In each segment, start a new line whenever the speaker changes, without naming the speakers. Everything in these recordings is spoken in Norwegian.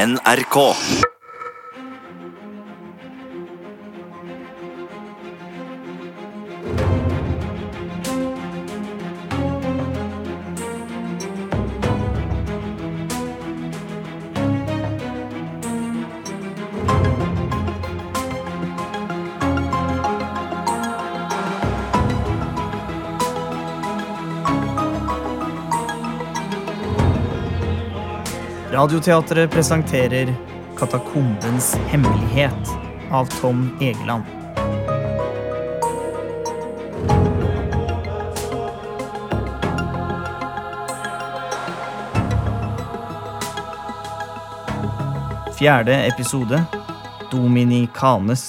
NRK.
Radioteatret presenterer Katakombens hemmelighet av Tom Egeland. Fjerde episode Dominikanes.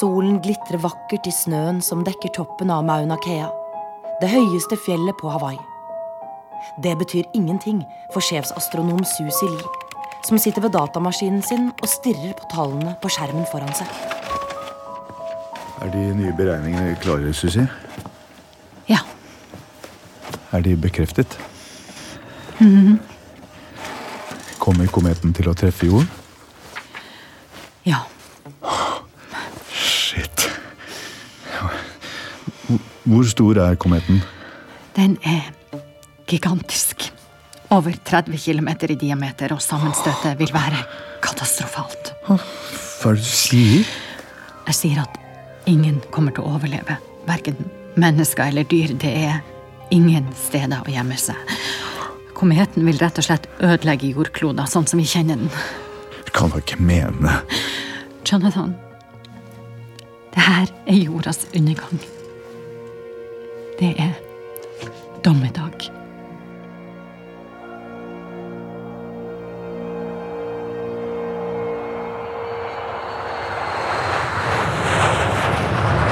Solen glitrer vakkert i snøen som dekker toppen av Mauna Kea, det høyeste fjellet på Hawaii. Det betyr ingenting for sjefsastronom Susi Lee, som sitter ved datamaskinen sin og stirrer på tallene på skjermen foran seg.
Er de nye beregningene klare, Susi?
Ja.
Er de bekreftet? Kommer kometen til å treffe jorden?
Ja.
Shit. Hvor- Hvor stor er kometen?
Den er gigantisk. Over 30 km i diameter, og sammenstøtet vil være katastrofalt.
Hva er det du sier?
Jeg sier at ingen kommer til å overleve. Verken mennesker eller dyr. Det er ingen steder å gjemme seg. Kometen vil rett og slett ødelegge jordkloden sånn som vi kjenner den.
Du kan da ikke mene
Jonathan, det her er jordas undergang. Det er dommedag.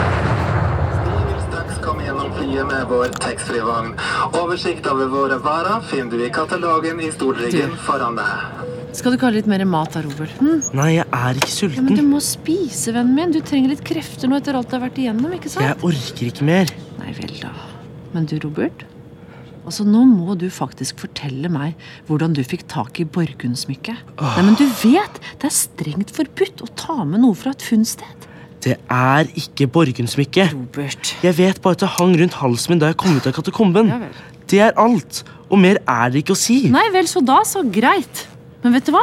Vi vil straks komme gjennom flyet med vår taxfree-vogn. Oversikt over våre varer finner du i katalogen i stolryggen foran deg.
Skal du ikke ha litt mer mat da, Robert? Hm?
Nei, jeg er ikke
Ja, men du
sulten.
må spise, vennen min. Du trenger litt krefter nå etter alt du har vært igjennom, ikke sant?
Jeg orker ikke mer.
Nei vel, da. Men du, Robert? Altså, Nå må du faktisk fortelle meg hvordan du fikk tak i Borgund-smykket. Nei, men du vet, det er strengt forbudt å ta med noe fra et funnsted.
Det er ikke Borgund-smykke.
Robert.
Jeg vet bare at det hang rundt halsen min da jeg kom ut av katakomben.
Ja vel.
Det er alt. Og mer er det ikke å si.
Nei vel, så da, så greit. Men vet du hva?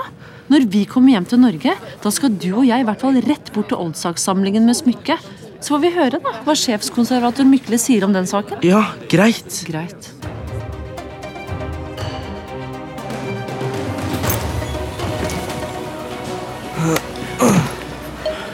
Når vi kommer hjem til Norge, da skal du og jeg i hvert fall rett bort til Oldsakssamlingen med smykke. Så får vi høre da, hva sjefskonservator Mykle sier om den saken.
Ja, greit.
Greit.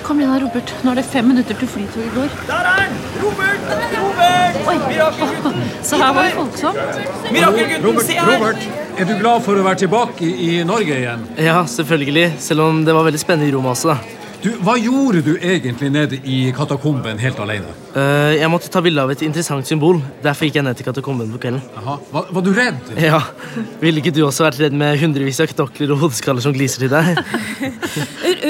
Kom igjen da, Robert. Nå er det fem minutter til flytoget går. Der er han! Robert! Robert! Oi. Så her var det folksomt.
Robert, Robert, er du glad for å være tilbake i, i Norge igjen?
Ja, selvfølgelig. Selv om det var veldig spennende i Roma også, da.
Du, hva gjorde du egentlig nede i katakomben helt alene?
Eh, jeg måtte ta bilde av et interessant symbol. Derfor gikk jeg ned til katakomben på kvelden.
Aha. Var, var du redd?
Ja, Ville ikke du også vært redd med hundrevis av knokler og hodeskaller som gliser til deg?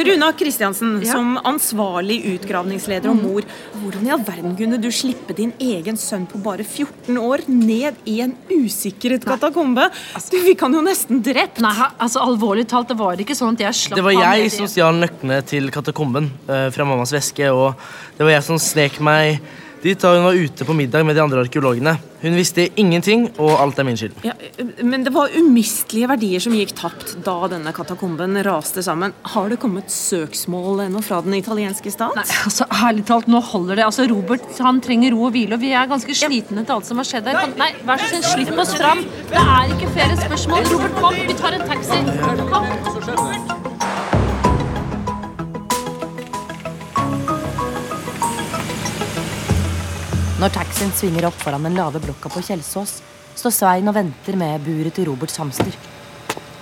Runa Kristiansen, som ansvarlig utgravningsleder
Mm.
og mor. Hvordan i all verden kunne du slippe din egen sønn på bare 14 år ned i en usikret katakombe? Du fikk han jo nesten drept.
Altså- Nei, altså alvorlig talt, det var ikke sånn at jeg slapp
Det var
han
jeg
ned i-
som stjal nøklene til katakomben eh, fra mammas veske. Og det var jeg som snek meg dit da hun var ute på middag med de andre arkeologene. Hun visste ingenting, og alt er min skyld.
Ja, men det var umistelige verdier som gikk tapt da denne katakomben raste sammen. Har det kommet søksmål ennå fra den italienske stat?
Nei, altså, Ærlig talt, nå holder det. Altså, Robert han trenger ro og hvile, og vi er ganske slitne til alt som har skjedd her. Kan, nei, vær så snill, slipp oss fram. Det er ikke flere spørsmål. Robert, kom, vi tar en taxi. Kom.
Når taxien svinger opp foran den lave blokka på Kjelsås, står Svein og venter med buret til Roberts hamster.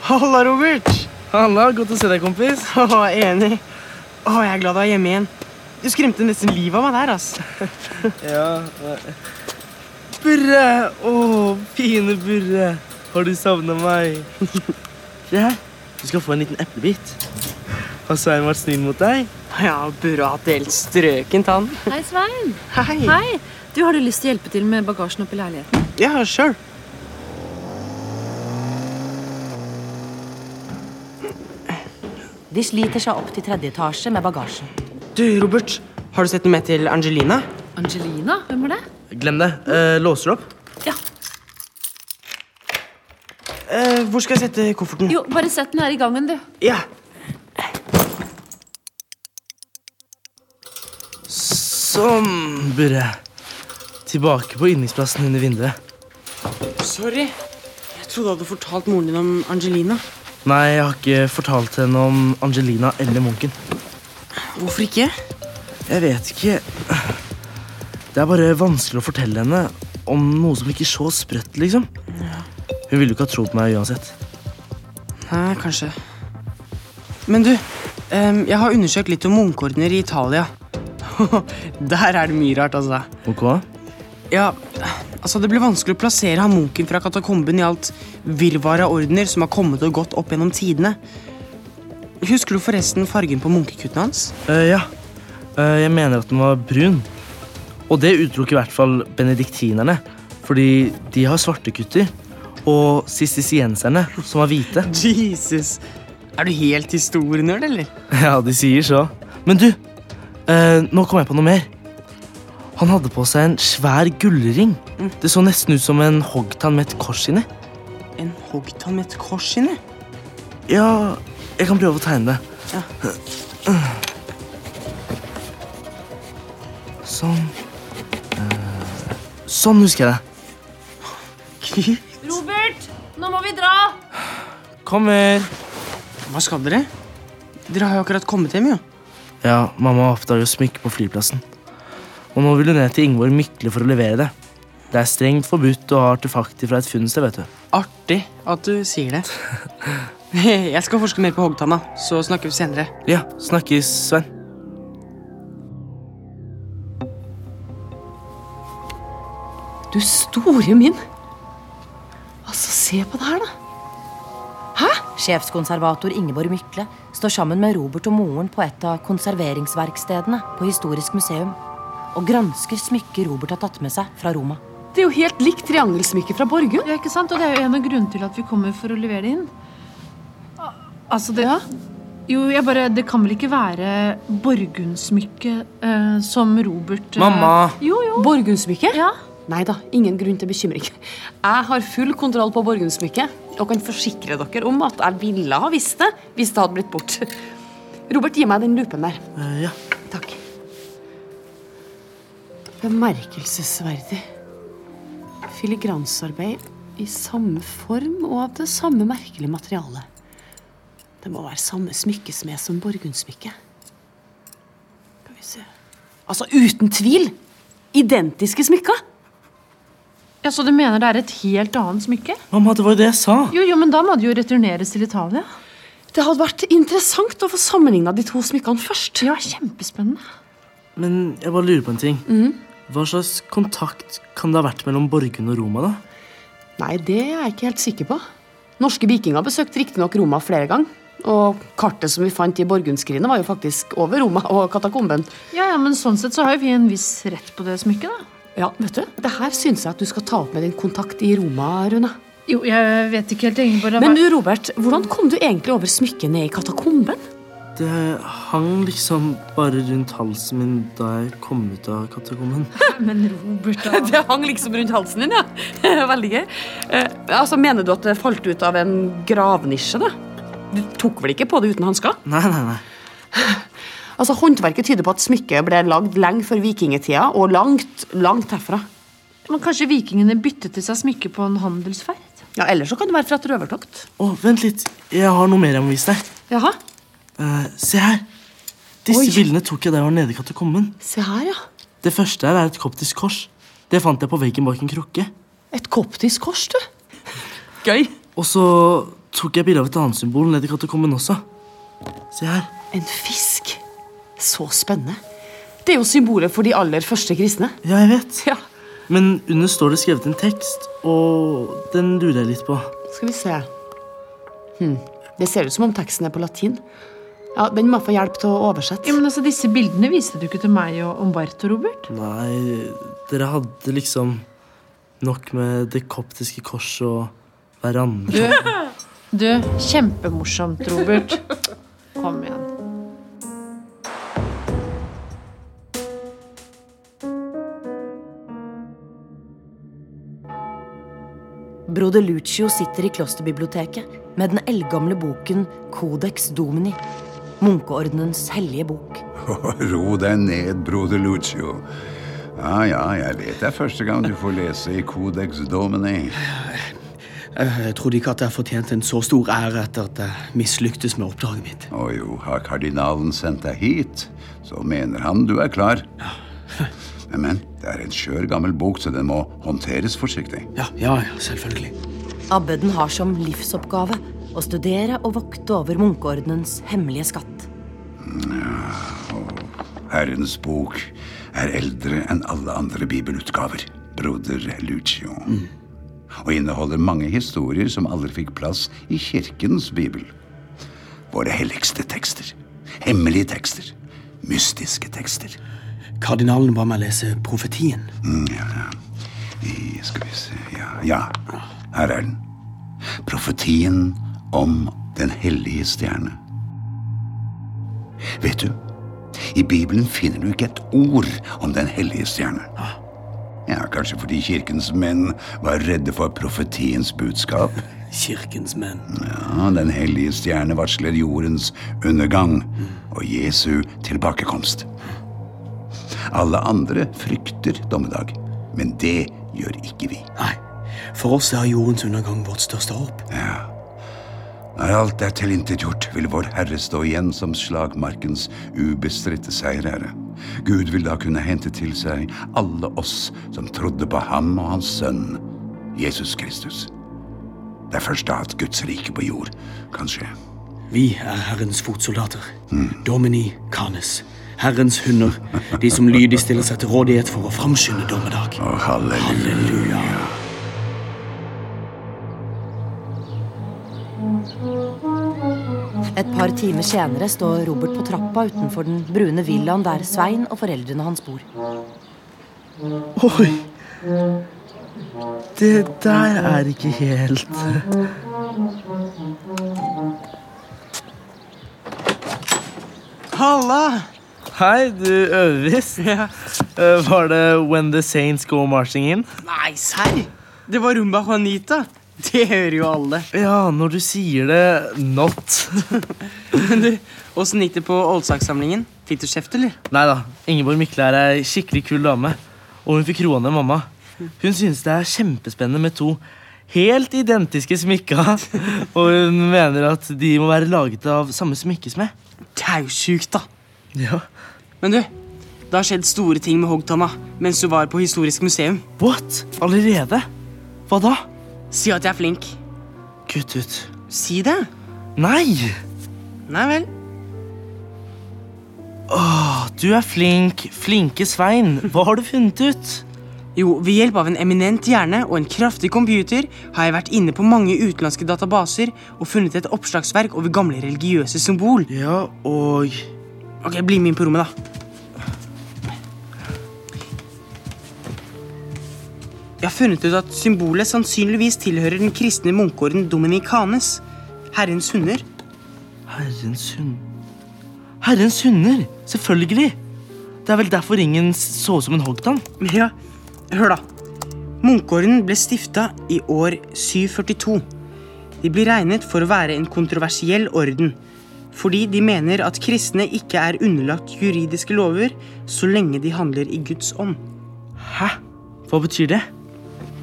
Halla, Robert.
Halla, godt å se deg, kompis.
Åh, enig. Åh, jeg er glad du er hjemme igjen. Du skremte nesten livet av meg der, ass.
Ja, Burre! Å, fine Burre. Har du savna meg? Se her. Du skal få en liten eplebit. Har Svein vært snill mot deg?
Ja, burde hatt det helt strøkent, han.
Hei, Svein.
Hei.
Hei. Du, Har du lyst til å hjelpe til med bagasjen opp i leiligheten?
Ja, sjøl.
De sliter seg opp til tredje etasje med bagasjen.
Du, Robert, har du sett noe mer til Angelina?
Angelina? Hvem er det?
Glem det. Eh, låser du opp?
Ja.
Eh, hvor skal jeg sette kofferten?
Jo, bare sett den her i gangen, du.
Ja. Sånn, Burre.
Tilbake på yndlingsplassen under vinduet.
Sorry. Jeg trodde du hadde fortalt moren din om Angelina.
Nei, jeg har ikke fortalt henne om Angelina eller munken.
Hvorfor ikke?
Jeg vet ikke. Det er bare vanskelig å fortelle henne om noe som virker så sprøtt, liksom. Hun ville jo ikke ha trodd på meg uansett.
Nei, kanskje. Men du, em, jeg har undersøkt litt om munkeordener i Italia. Der er det mye rart, altså.
Ok?
Ja, altså Det blir vanskelig å plassere han munken fra katakomben i alt virvaret av ordener som har kommet og gått opp gjennom tidene. Husker du forresten fargen på munkekuttene hans?
Eh, ja. Eh, jeg mener at den var brun. Og det utelukker i hvert fall benediktinerne, fordi de har svarte kutter. Og sistisienserne, som var hvite.
Jesus! Er du helt historienerd, eller?
Ja, de sier så. Men du, eh, nå kom jeg på noe mer. Han hadde på seg en svær gullring.
Mm.
Det så nesten ut som en hoggtann med et kors inni.
En hoggtann med et kors inni?
Ja, jeg kan prøve å tegne det. Sånn. Eh, Sånn husker jeg det. Gud.
Robert, nå må vi dra!
Kommer.
Hva skal dere? Dere har jo akkurat kommet hjem, jo.
Ja, mamma oppdager smykke på flyplassen. Og nå vil hun ned til Ingvor Mykle for å levere det. Det er strengt forbudt å ha artefakter fra et funnsted, vet du.
Artig at du sier det. Jeg skal forske mer på hoggtanna, så snakker vi senere.
Ja, snakkes, Svein.
Du store min! Altså, se på det her, da.
Hæ? Sjefskonservator Ingeborg Mykle står sammen med Robert og moren på et av konserveringsverkstedene på Historisk museum og gransker smykket Robert har tatt med seg fra Roma.
Det er jo helt likt triangelsmykket fra Borgund.
Ja, ikke sant? Og det er jo en av grunnene til at vi kommer for å levere det inn. Altså, det Jo, jeg bare Det kan vel ikke være Borgundsmykket eh, som Robert eh,
Mamma!
Jo, jo.
Borgundsmykket?
Ja.
Nei da, ingen grunn til bekymring. Jeg har full kontroll på Borgundsmykket og kan forsikre dere om at jeg ville ha visst det hvis det hadde blitt bort. Robert, gi meg den lupen der.
Eh, ja.
Takk. Bemerkelsesverdig. Filigransarbeid i samme form og av det samme merkelige materialet. Det må være samme smykkesmed som Borgundsmykket. Skal vi se Altså, uten tvil! Identiske smykker!
Ja, Så du mener det er et helt annet smykke?
Mamma, det var jo det jeg sa.
Jo, jo, men da må det jo returneres til Italia.
Det hadde vært interessant å få sammenligna de to smykkene først.
Ja, kjempespennende.
Men jeg bare lurer på en ting.
Mhm.
Hva slags kontakt kan det ha vært mellom Borgund og Roma, da?
Nei, det er jeg ikke helt sikker på. Norske vikinger besøkte riktignok Roma flere ganger. Og kartet som vi fant i Borgundskrinet, var jo faktisk over Roma og katakomben.
Ja, ja, men Sånn sett så har jo vi en viss rett på det smykket, da.
Ja, vet du, det her syns jeg at du skal ta opp med din kontakt i Roma, Rune.
Jo, jeg vet ikke helt, Ingeborg.
Men du, Robert, hvordan kom du egentlig over smykket ned i katakomben?
Det hang liksom bare rundt halsen min da jeg kom ut av katakomben.
Men Robert, da.
Det hang liksom rundt halsen din, ja. Veldig gøy. Eh, altså, Mener du at det falt ut av en gravnisje, da? Du tok vel ikke på det uten hansker?
Nei, nei, nei.
Altså, Håndverket tyder på at smykket ble lagd lenge før vikingetida, og langt, langt herfra.
Men kanskje vikingene byttet til seg smykke på en handelsferd?
Ja, Eller så kan det være fra et røvertokt.
Å, vent litt. Jeg har noe mer jeg må vise deg.
Jaha,
Eh, se her. Disse
Oi.
bildene tok jeg da jeg var nede i katakomben.
se her, ja.
Det første her er et koptisk kors. Det fant jeg på veggen bak en krukke.
Et koptisk kors, du. Gøy.
Og så tok jeg bilde av et annet symbol nede i katakomben også. Se her.
En fisk. Så spennende. Det er jo symbolet for de aller første kristne.
Ja, jeg vet.
Ja.
Men under står det skrevet en tekst, og den lurer jeg litt på.
Skal vi se. Hm. Det ser ut som om teksten er på latin. Ja, Den må jeg få hjelp til å oversette.
Ja, men altså, Disse bildene viste du ikke til meg og Umberto, Robert.
Nei, dere hadde liksom nok med det koptiske korset og hverandre.
Du, kjempemorsomt, Robert. Kom igjen.
Broder Lucio sitter i klosterbiblioteket med den eldgamle boken Codex Domini, munkeordenens hellige bok.
Ro deg ned, broder Lucio. Ja, ja, jeg vet det er første gang du får lese i Codex Domini.
Jeg trodde ikke at jeg fortjente en så stor ære etter at jeg mislyktes med oppdraget mitt.
Å jo, har kardinalen sendt deg hit, så mener han du er klar. Men, men, det er en skjør gammel bok, så den må håndteres forsiktig.
Ja, ja, ja, selvfølgelig.
Abbeden har som livsoppgave å studere og vokte over munkeordenens hemmelige skatt.
Ja, og Herrens bok er eldre enn alle andre bibelutgaver, broder Lucio. Og inneholder mange historier som aldri fikk plass i kirkens bibel. Våre helligste tekster. Hemmelige tekster. Mystiske tekster.
Kardinalen ba meg lese profetien.
Mm, ja, ja. I, skal vi se ja, ja, her er den. Profetien om Den hellige stjerne. Vet du, i Bibelen finner du ikke et ord om Den hellige stjerne. Ja, Kanskje fordi kirkens menn var redde for profetiens budskap?
Kirkens menn.
Ja, Den hellige stjerne varsler jordens undergang og Jesu tilbakekomst. Alle andre frykter dommedag, men det gjør ikke vi.
Nei, For oss er jordens undergang vårt største håp.
Ja. Når alt er tilintetgjort, vil Vår Herre stå igjen som slagmarkens ubestridte seierherre. Gud vil da kunne hente til seg alle oss som trodde på ham og hans sønn, Jesus Kristus. Det er først da at Guds rike på jord kan skje. Hmm.
Vi er Herrens fotsoldater. Domini canes. Herrens hunder. De som lydig stiller seg til rådighet for å framskynde dommedag.
halleluja.
Et par timer senere står Robert på trappa utenfor den brune villaen der Svein og foreldrene hans bor.
Oi! Det der er ikke helt
Halla! Hei, du øves. Eh, var det When the Saints Go Marching In?
Nei, serr! Det var Rumba Juanita. Det hører jo alle.
Ja, når du sier det not.
Men du, åssen gikk det på Oldsakssamlingen? Fikk du kjeft, eller?
Nei da. Ingeborg Mykleær er ei skikkelig kul dame. Og hun fikk roa ned mamma. Hun synes det er kjempespennende med to helt identiske smykka. Og hun mener at de må være laget av samme smykkesmed.
Det er jo sjukt, da.
Ja.
Men du, det har skjedd store ting med hoggtanna mens du var på Historisk museum.
What? Allerede? Hva da?
Si at jeg er flink.
Kutt ut.
Si det.
Nei!
Nei vel.
Åh, du er flink. Flinke Svein. Hva har du funnet ut?
Jo, ved hjelp av en eminent hjerne og en kraftig computer har jeg vært inne på mange utenlandske databaser og funnet et oppslagsverk over gamle religiøse symbol.
Ja, og...
Ok, bli med inn på rommet, da. Jeg har funnet ut at symbolet sannsynligvis tilhører den kristne munkeorden Dominikanes. Herrens hunder.
Herrens hund... Herrens hunder! Selvfølgelig! Det er vel derfor ringen så ut som en hoggtann?
Ja, hør da. Munkeorden ble stifta i år 742. De blir regnet for å være en kontroversiell orden, fordi de mener at kristne ikke er underlagt juridiske lover så lenge de handler i Guds ånd.
Hæ? Hva betyr det?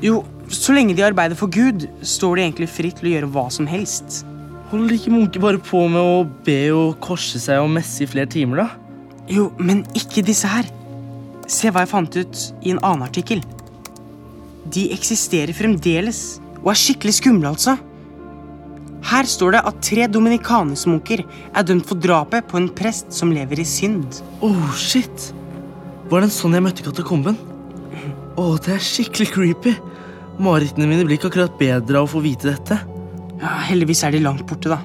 Jo, så lenge de arbeider for Gud, står de egentlig fritt til å gjøre hva som helst.
Holder ikke munker bare på med å be og korse seg og messe i flere timer, da?
Jo, men ikke disse her. Se hva jeg fant ut i en annen artikkel. De eksisterer fremdeles og er skikkelig skumle, altså. Her står det at tre dominikanesmunker er dømt for drapet på en prest som lever i synd.
Oh, shit! Var det en sånn jeg møtte katakomben? Å, det er skikkelig creepy. Marerittene mine blir ikke akkurat bedre av å få vite dette.
Ja, heldigvis er de langt borte, da.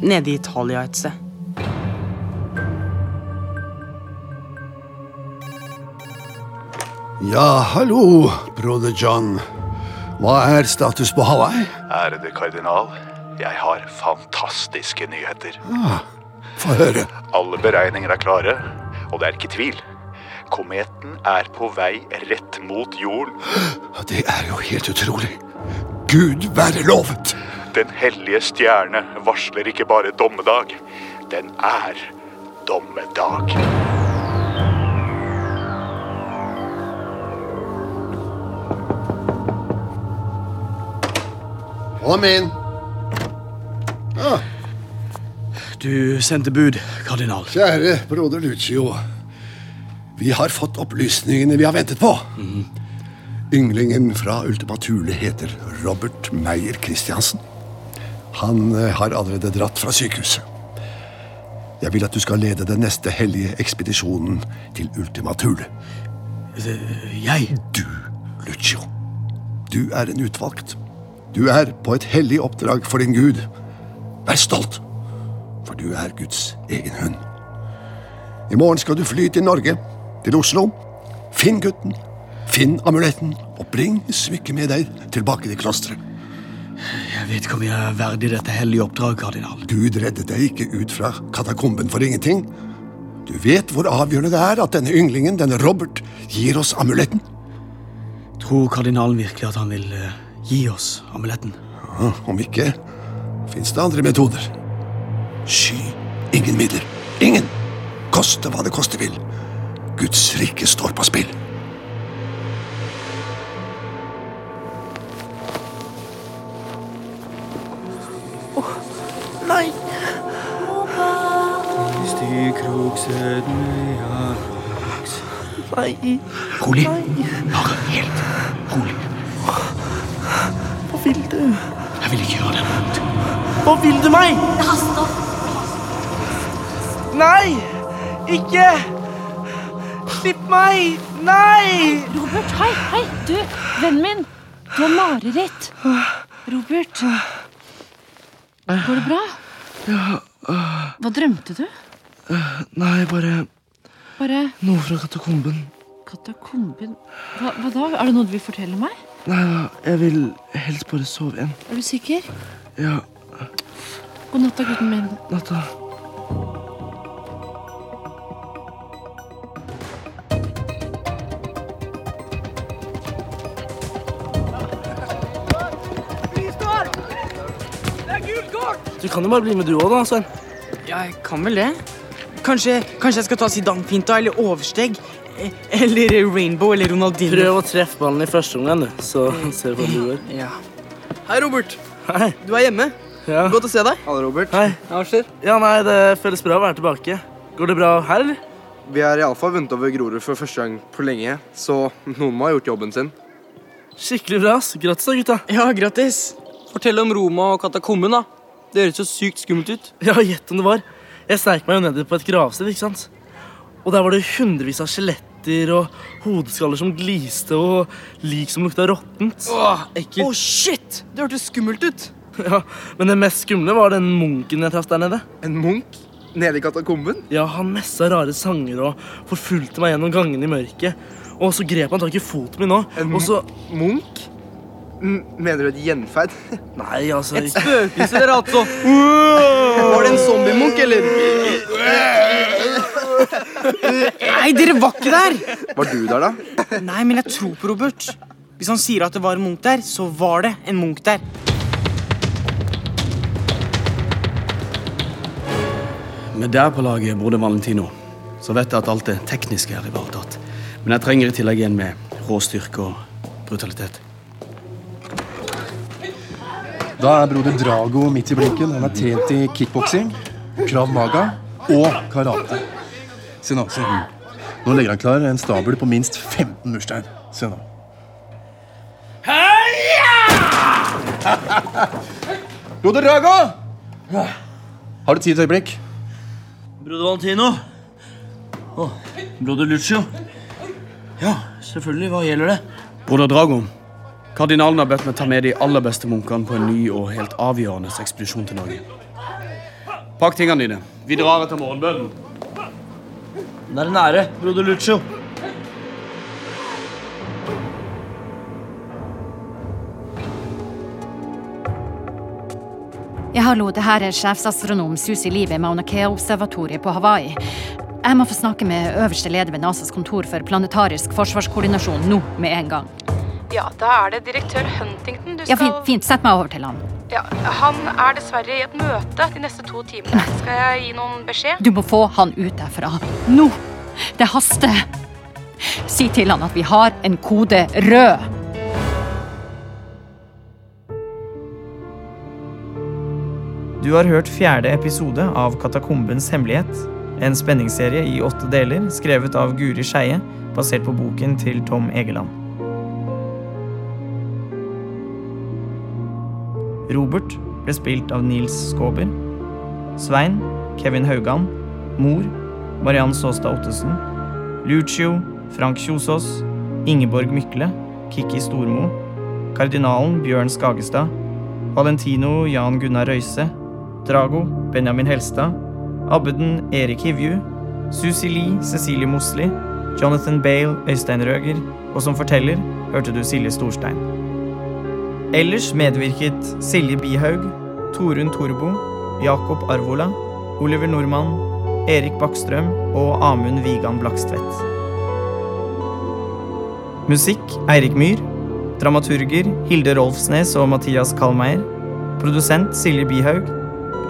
Nede i Italia et sted.
Ja, hallo, broder John. Hva er status på Hawaii?
Ærede kardinal,
Jeg har fantastiske nyheter.
Ah, Få høre.
Alle beregninger er klare, og det er ikke tvil. Kometen er på vei rett mot jorden.
Det er jo helt utrolig. Gud være lovet!
Den hellige stjerne varsler ikke bare dommedag. Den er dommedag.
Kom inn. Ah.
Du sendte bud, kardinal.
Kjære broder Lucio. Vi har fått opplysningene vi har ventet på.
Mhm.
Ynglingen fra Ultima Thule heter Robert Meyer Christiansen. Han eh, har allerede dratt fra sykehuset. Jeg vil at du skal lede den neste hellige ekspedisjonen til Ultima Thule.
Eh, Jeg?
Du, Lucio. Du er en utvalgt. Du er på et hellig oppdrag for din gud. Vær stolt, for du er Guds egen hund. I morgen skal du fly til Norge, til Oslo. Finn gutten, finn amuletten, og bring smykket med deg tilbake til klosteret.
Jeg vet ikke om jeg er verdig dette hellige oppdrag, kardinal.
Gud reddet deg ikke ut fra katakomben for ingenting. Du vet hvor avgjørende det er at denne ynglingen, denne Robert, gir oss amuletten.
Tror kardinalen virkelig at han vil eh, gi oss amuletten?
Ja, Om ikke, fins det andre metoder. Sky ingen midler. Ingen! Koste hva det koste vil. Guds rike står på spill.
Nei! Nei.
Rolig.
Bare
helt rolig.
Hva vil du?
Jeg vil ikke gjøre det vondt.
Hva vil du meg?
Det haster.
Nei! Ikke! Slipp meg! Nei!
Robert, hei, hei, du, vennen min. Du har mareritt. Robert,
Går det bra?
Ja, øh,
Hva drømte du?
øh, nei, bare
Bare
noe fra katakomben.
katakomben hva, hva da? Er det noe du vil fortelle meg?
Nei, da, jeg vil helst bare sove igjen.
Er du sikker?
Ja,
God natt da, gutten min.
natta.
Du kan jo bare bli med du òg, da, Svein. Jeg kan vel det. Kanskje, kanskje jeg skal ta Zidane-finta eller oversteg. eh, Eller Rainbow eller Ronaldinho.
Prøv å treffe ballen i første omgang, du, så ser vi hva du gjør.
Ja.
Hei, Robert. Hei. Du er hjemme.
Ja.
Godt å se deg.
Hallo, Robert. Hei. Hva skjer? Ja, nei, Det føles bra å være tilbake. Går det bra her, eller?
Vi har iallfall vunnet over Grorud for første gang på lenge, så noen må ha gjort jobben sin.
Skikkelig bra. ass. Grattis, da, gutta. Ja, grattis.
Fortell om Roma og katakomben, da. Det høres jo sykt skummelt ut.
Ja, gjett om det var. Jeg sneik meg jo nedi på et gravsted, ikke sant? Og der var det hundrevis av skjeletter og hodeskaller som gliste, og lik som lukta råttent.
Åh,
ekkelt.
Åh, shit! Det hørtes skummelt ut.
Ja, men det mest skumle var den munken jeg traff der nede.
En munk? Nede i katakomben?
Ja, han messa rare sanger og forfulgte meg gjennom gangene i mørket. Og så grep han tak i foten min òg, og så
Munk? M mener du et gjenferd?
Nei, altså
Et
ikke-
spøkelse, dere altså. Var det en zombiemunk, eller?
Nei, dere var ikke der!
Var du der, da?
Nei, men jeg tror på Robert. Hvis han sier at det var en munk der, så var det en munk der.
Med der på laget, broder Valentino, så vet jeg at alt det tekniske er ivaretatt. Men jeg trenger i tillegg en med rå styrke og brutalitet.
Da er broder Drago midt i blinken. Han er trent i kickboksing, krav maga og karate. Se nå. se nå. Nå legger han klar en stabel på minst 15 murstein. Se nå. Broder Drago! Har du tid et øyeblikk?
Broder Valentino. Å, broder Lucio. Ja, selvfølgelig. Hva gjelder det?
Broder Drago, kardinalen har bedt meg ta med de aller beste munkene på en ny og helt avgjørende ekspedisjon til Norge. Pakk tingene dine. Vi drar etter morgenbønnen.
Den er en ære, broder Lucio.
Ja, hallo, det her er sjefsastronom Susi Liv i Mauna Kea-observatoriet på Hawaii. Jeg må få snakke med øverste leder ved NASAs kontor for planetarisk forsvarskoordinasjon nå med en gang.
Ja, da er det direktør Huntington du
Ja,
skal
fint, fint. Sett meg over til han.
Ja, Han er dessverre i et møte de neste to timene. Skal jeg gi noen beskjed?
Du må få han ut derfra. Nå! Det haster. Si til han at vi har en kode rød.
Du har hørt fjerde episode av Katakombens hemmelighet. En spenningsserie i åtte deler skrevet av Guri Skeie, basert på boken til Tom Egeland. Robert ble spilt av Nils Skåber. Svein Kevin Haugan. Mor Mariann Saastad Ottesen. Lucio Frank Kjosås. Ingeborg Mykle Kikki Stormo. Kardinalen Bjørn Skagestad. Valentino Jan Gunnar Røise. Drago Benjamin Helstad. Abbeden Erik Hivju. Susi Lee Cecilie Mosli. Jonathan Bale Øystein Røger. Og som forteller hørte du Silje Storstein. Ellers medvirket Silje Bihaug, Torunn Torbo, Jakob Arvola, Oliver Nordmann, Erik Bakkstrøm og Amund Vigan Blakstvedt. Musikk Eirik Myhr. Dramaturger Hilde Rolfsnes og Mathias Kallmeier. Produsent Silje Bihaug.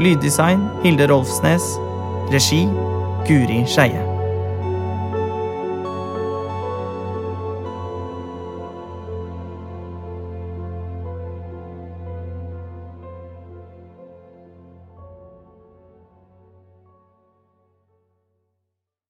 Lyddesign Hilde Rolfsnes. Regi Guri Skeie.